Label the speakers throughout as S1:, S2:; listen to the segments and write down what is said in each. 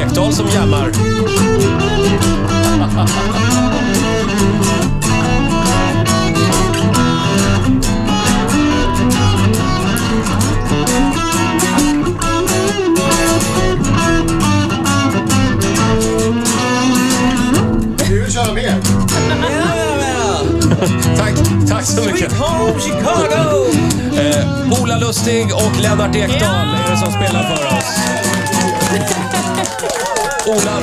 S1: Ekdahl som jammar.
S2: Vi vill köra mer.
S1: Tack, tack så mycket.
S3: home Chicago!
S1: Eh, Ola Lustig och Lennart Ekdahl är det som spelar för oss. Ola,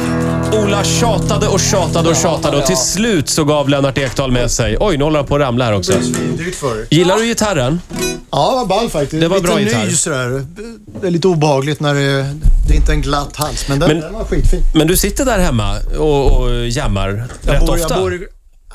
S1: Ola tjatade och tjatade och tjatade och till slut så gav Lennart Ekdahl med sig. Oj, nu håller han på att ramla här också.
S2: Det är svindyrt för er.
S1: Gillar du gitarren?
S2: Ja, vad ball faktiskt.
S1: Det var
S2: lite
S1: bra gitarr.
S2: ny sådär. Det är lite obehagligt när det, det är inte är en glatt hals. Men den,
S1: Men-
S2: den var skitfin.
S1: Men du sitter där hemma och, och jammar rätt
S2: jag bor,
S1: ofta?
S2: Jag bor i,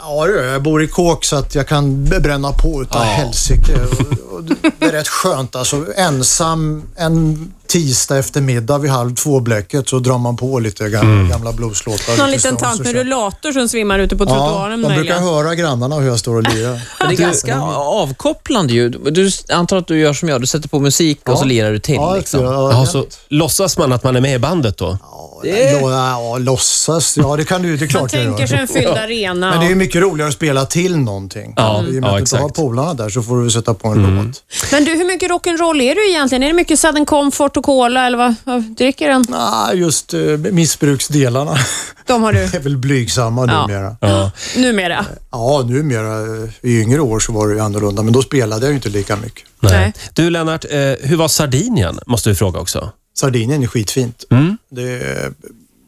S2: ja, det gör jag. Jag bor i kåk så att jag kan bränna på utav
S1: Ja.
S2: helsike. Och, och det är rätt skönt alltså. Ensam en tisdag eftermiddag vid halv två-bläcket så drar man på lite gamla,
S1: Mm.
S2: gamla blueslåtar.
S4: Någon
S2: lite
S4: liten
S2: Stones
S4: tant
S2: och
S4: med
S2: så.
S4: rullator som svimmar ute på
S2: Ja, de
S4: trottoaren.
S2: brukar
S4: möjligen.
S2: höra grannarna hur jag står och lirar.
S3: Men det är
S2: Mm.
S3: ganska avkopplande ju. Du jag antar att du gör som jag, du sätter på musik och så lirar du till.
S2: Ja,
S3: liksom.
S2: ja,
S1: Jaha, så låtsas man att man är med i bandet då?
S2: det... ja, ja, låtsas. Ja, det kan du Det är
S4: Man
S2: klart jag
S4: tänker
S2: gör.
S4: sig en fylld arena.
S2: Men det är
S4: och-
S2: ju mycket roligare att spela till någonting.
S1: Ja, ja,
S2: I och med att du inte har
S1: exakt. Mm.
S2: polarna där så får du sätta på en låt.
S4: Men du, hur mycket rock'n'roll är du egentligen? Är det mycket sudden comfort och cola eller vad, vad dricker den?
S2: Ah, just eh, missbruksdelarna
S4: De har du
S2: är väl blygsamma
S4: Ja.
S2: numera.
S4: numera.
S2: Ja, numera. eh, I yngre år så var det ju annorlunda, men då spelade jag ju inte lika mycket.
S4: Nej.
S1: Du Lennart, eh, hur var Sardinien? Måste vi fråga också.
S2: Sardinien är skitfint.
S1: Mm.
S2: Det är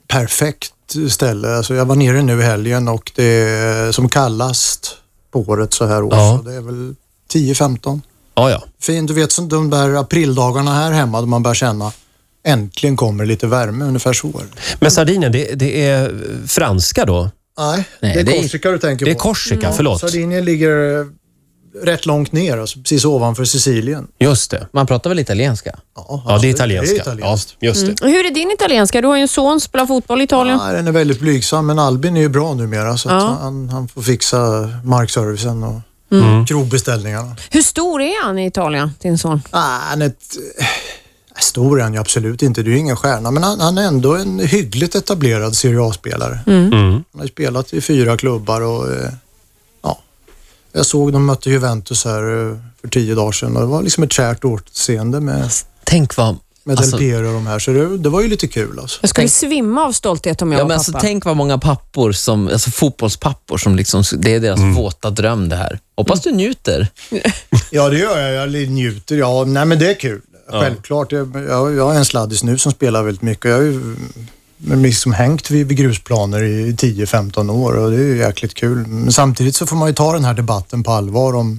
S2: perfekt ställe. Alltså jag var nere nu i helgen och det är som kallast på året så här år.
S1: Ja.
S2: Så det är väl 10-15.
S1: Ja, ja.
S2: Fin, du vet som de där aprildagarna här hemma då man börjar känna äntligen kommer lite värme, ungefär så. är det.
S1: Men Sardinien, det, det är franska då?
S2: Nej,
S3: Nej,
S2: det är
S3: det är-
S2: Korsika du tänker
S1: Det är
S2: på.
S1: Korsika, förlåt.
S2: Sardinien ligger eh, rätt långt ner, alltså precis ovanför Sicilien.
S1: Just det.
S3: Man pratar väl italienska?
S1: Ja, det är
S2: absolut.
S1: italienska.
S2: Det är italienskt.
S1: Ja, just det.
S4: Och Hur är din italienska? Du har ju en son som spelar fotboll i Italien.
S2: Ja, den är väldigt blygsam, men Albin är ju bra numera så att
S4: Ja.
S2: han, han får fixa markservicen och
S1: Mm.
S2: krogbeställningarna.
S4: Hur stor är han i Italien, din son?
S2: Ah, han är ett, eh, stor är han ju absolut inte, det är ju ingen stjärna, men han, han är ändå en hyggligt etablerad Serie A-spelare.
S1: Mm.
S2: Han har ju spelat i fyra klubbar och eh, ja, jag såg de mötte Juventus här eh, för tio dagar sedan och det var liksom ett kärt återseende med,
S3: Tänk vad...
S2: med
S3: alltså,
S2: Del Piero och de här, så det, det var ju lite kul alltså.
S4: Jag skulle svimma av stolthet om jag
S3: ja, men
S4: var
S3: alltså,
S4: pappa.
S3: tänk vad många pappor, som, alltså fotbollspappor, som liksom, det är deras
S2: Mm.
S3: våta dröm det här. Hoppas du njuter.
S2: Ja, det gör jag. Jag njuter. Ja, nej men det är kul. Självklart. Jag, jag, jag är en sladdis nu som spelar väldigt mycket. Jag har ju men liksom hängt vid, vid grusplaner i 10-15 år och det är ju jäkligt kul. Men samtidigt så får man ju ta den här debatten på allvar om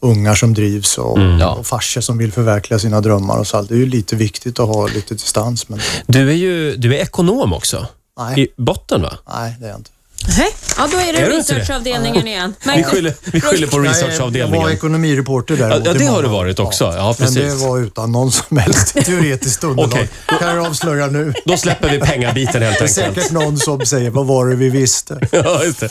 S2: ungar som drivs och,
S1: Mm.
S3: Ja.
S2: och farsor som vill förverkliga sina drömmar och så allt. Det är ju lite viktigt att ha lite distans, men
S1: Du är ju du är ekonom också.
S2: Nej.
S1: I botten, va?
S2: nej, det är jag inte.
S4: Nej, ja, då är det
S1: Är du inte det?
S4: researchavdelningen igen.
S1: Vi
S4: Nej,
S1: skyller, vi skyller på
S2: Jag var
S1: researchavdelningen.
S2: ekonomireporter
S1: Ja,
S2: däremot.
S1: ja,
S2: i
S1: det
S2: många
S1: har du
S2: år.
S1: varit också. Ja,
S2: men
S1: precis.
S2: det var utan någon som helst teoretiskt underlag.
S1: Okej.
S2: Det kan jag avslöja nu.
S1: Då släpper vi pengabiten helt
S2: Det är
S1: enkelt.
S2: säkert någon som säger, vad var det vi visste?
S1: Ja, just det.